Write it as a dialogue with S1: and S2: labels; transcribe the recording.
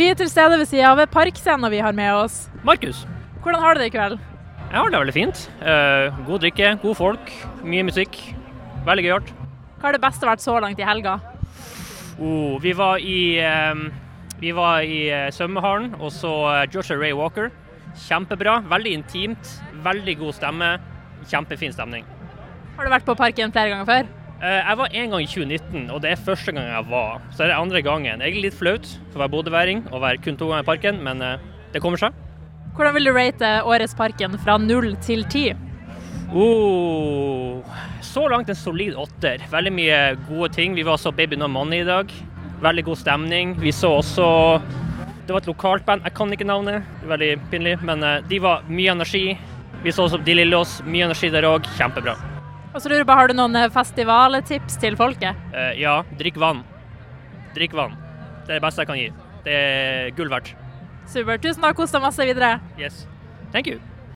S1: Vi er til stede ved sida av parkscenen vi har med oss.
S2: Markus,
S1: Hvordan har du det i kveld?
S2: jeg har det veldig fint. Eh, god drikke, gode folk, mye musikk. Veldig gøyalt.
S1: Hva har det beste vært så langt i helga?
S2: Oh, vi var i, eh, vi var i eh, svømmehallen og så eh, Joshua Ray Walker. Kjempebra. Veldig intimt. Veldig god stemme. Kjempefin stemning.
S1: Har du vært på parken flere ganger før?
S2: Eh, jeg var en gang i 2019, og det er første gang jeg var. Så er det andre gangen. Egentlig litt flaut for å være bodøværing og være kun to ganger i parken, men eh, det kommer seg.
S1: Hvordan vil du rate årets Parken fra null til ti?
S2: Oh, så langt en solid åtter. Veldig mye gode ting. Vi var så Baby No Money i dag. Veldig god stemning. Vi så også Det var et lokalt band, jeg kan ikke navnet, veldig pinlig, men eh, de var mye energi. Vi så også De Lillås, mye energi der òg. Kjempebra.
S1: Og så lurer jeg på, Har du noen festivaltips til folket?
S2: Eh, ja, drikk vann. Drikk vann. Det er det beste jeg kan gi. Det er gull verdt.
S1: Supert. Tusen takk, kos deg masse videre.
S2: Yes. Thank you.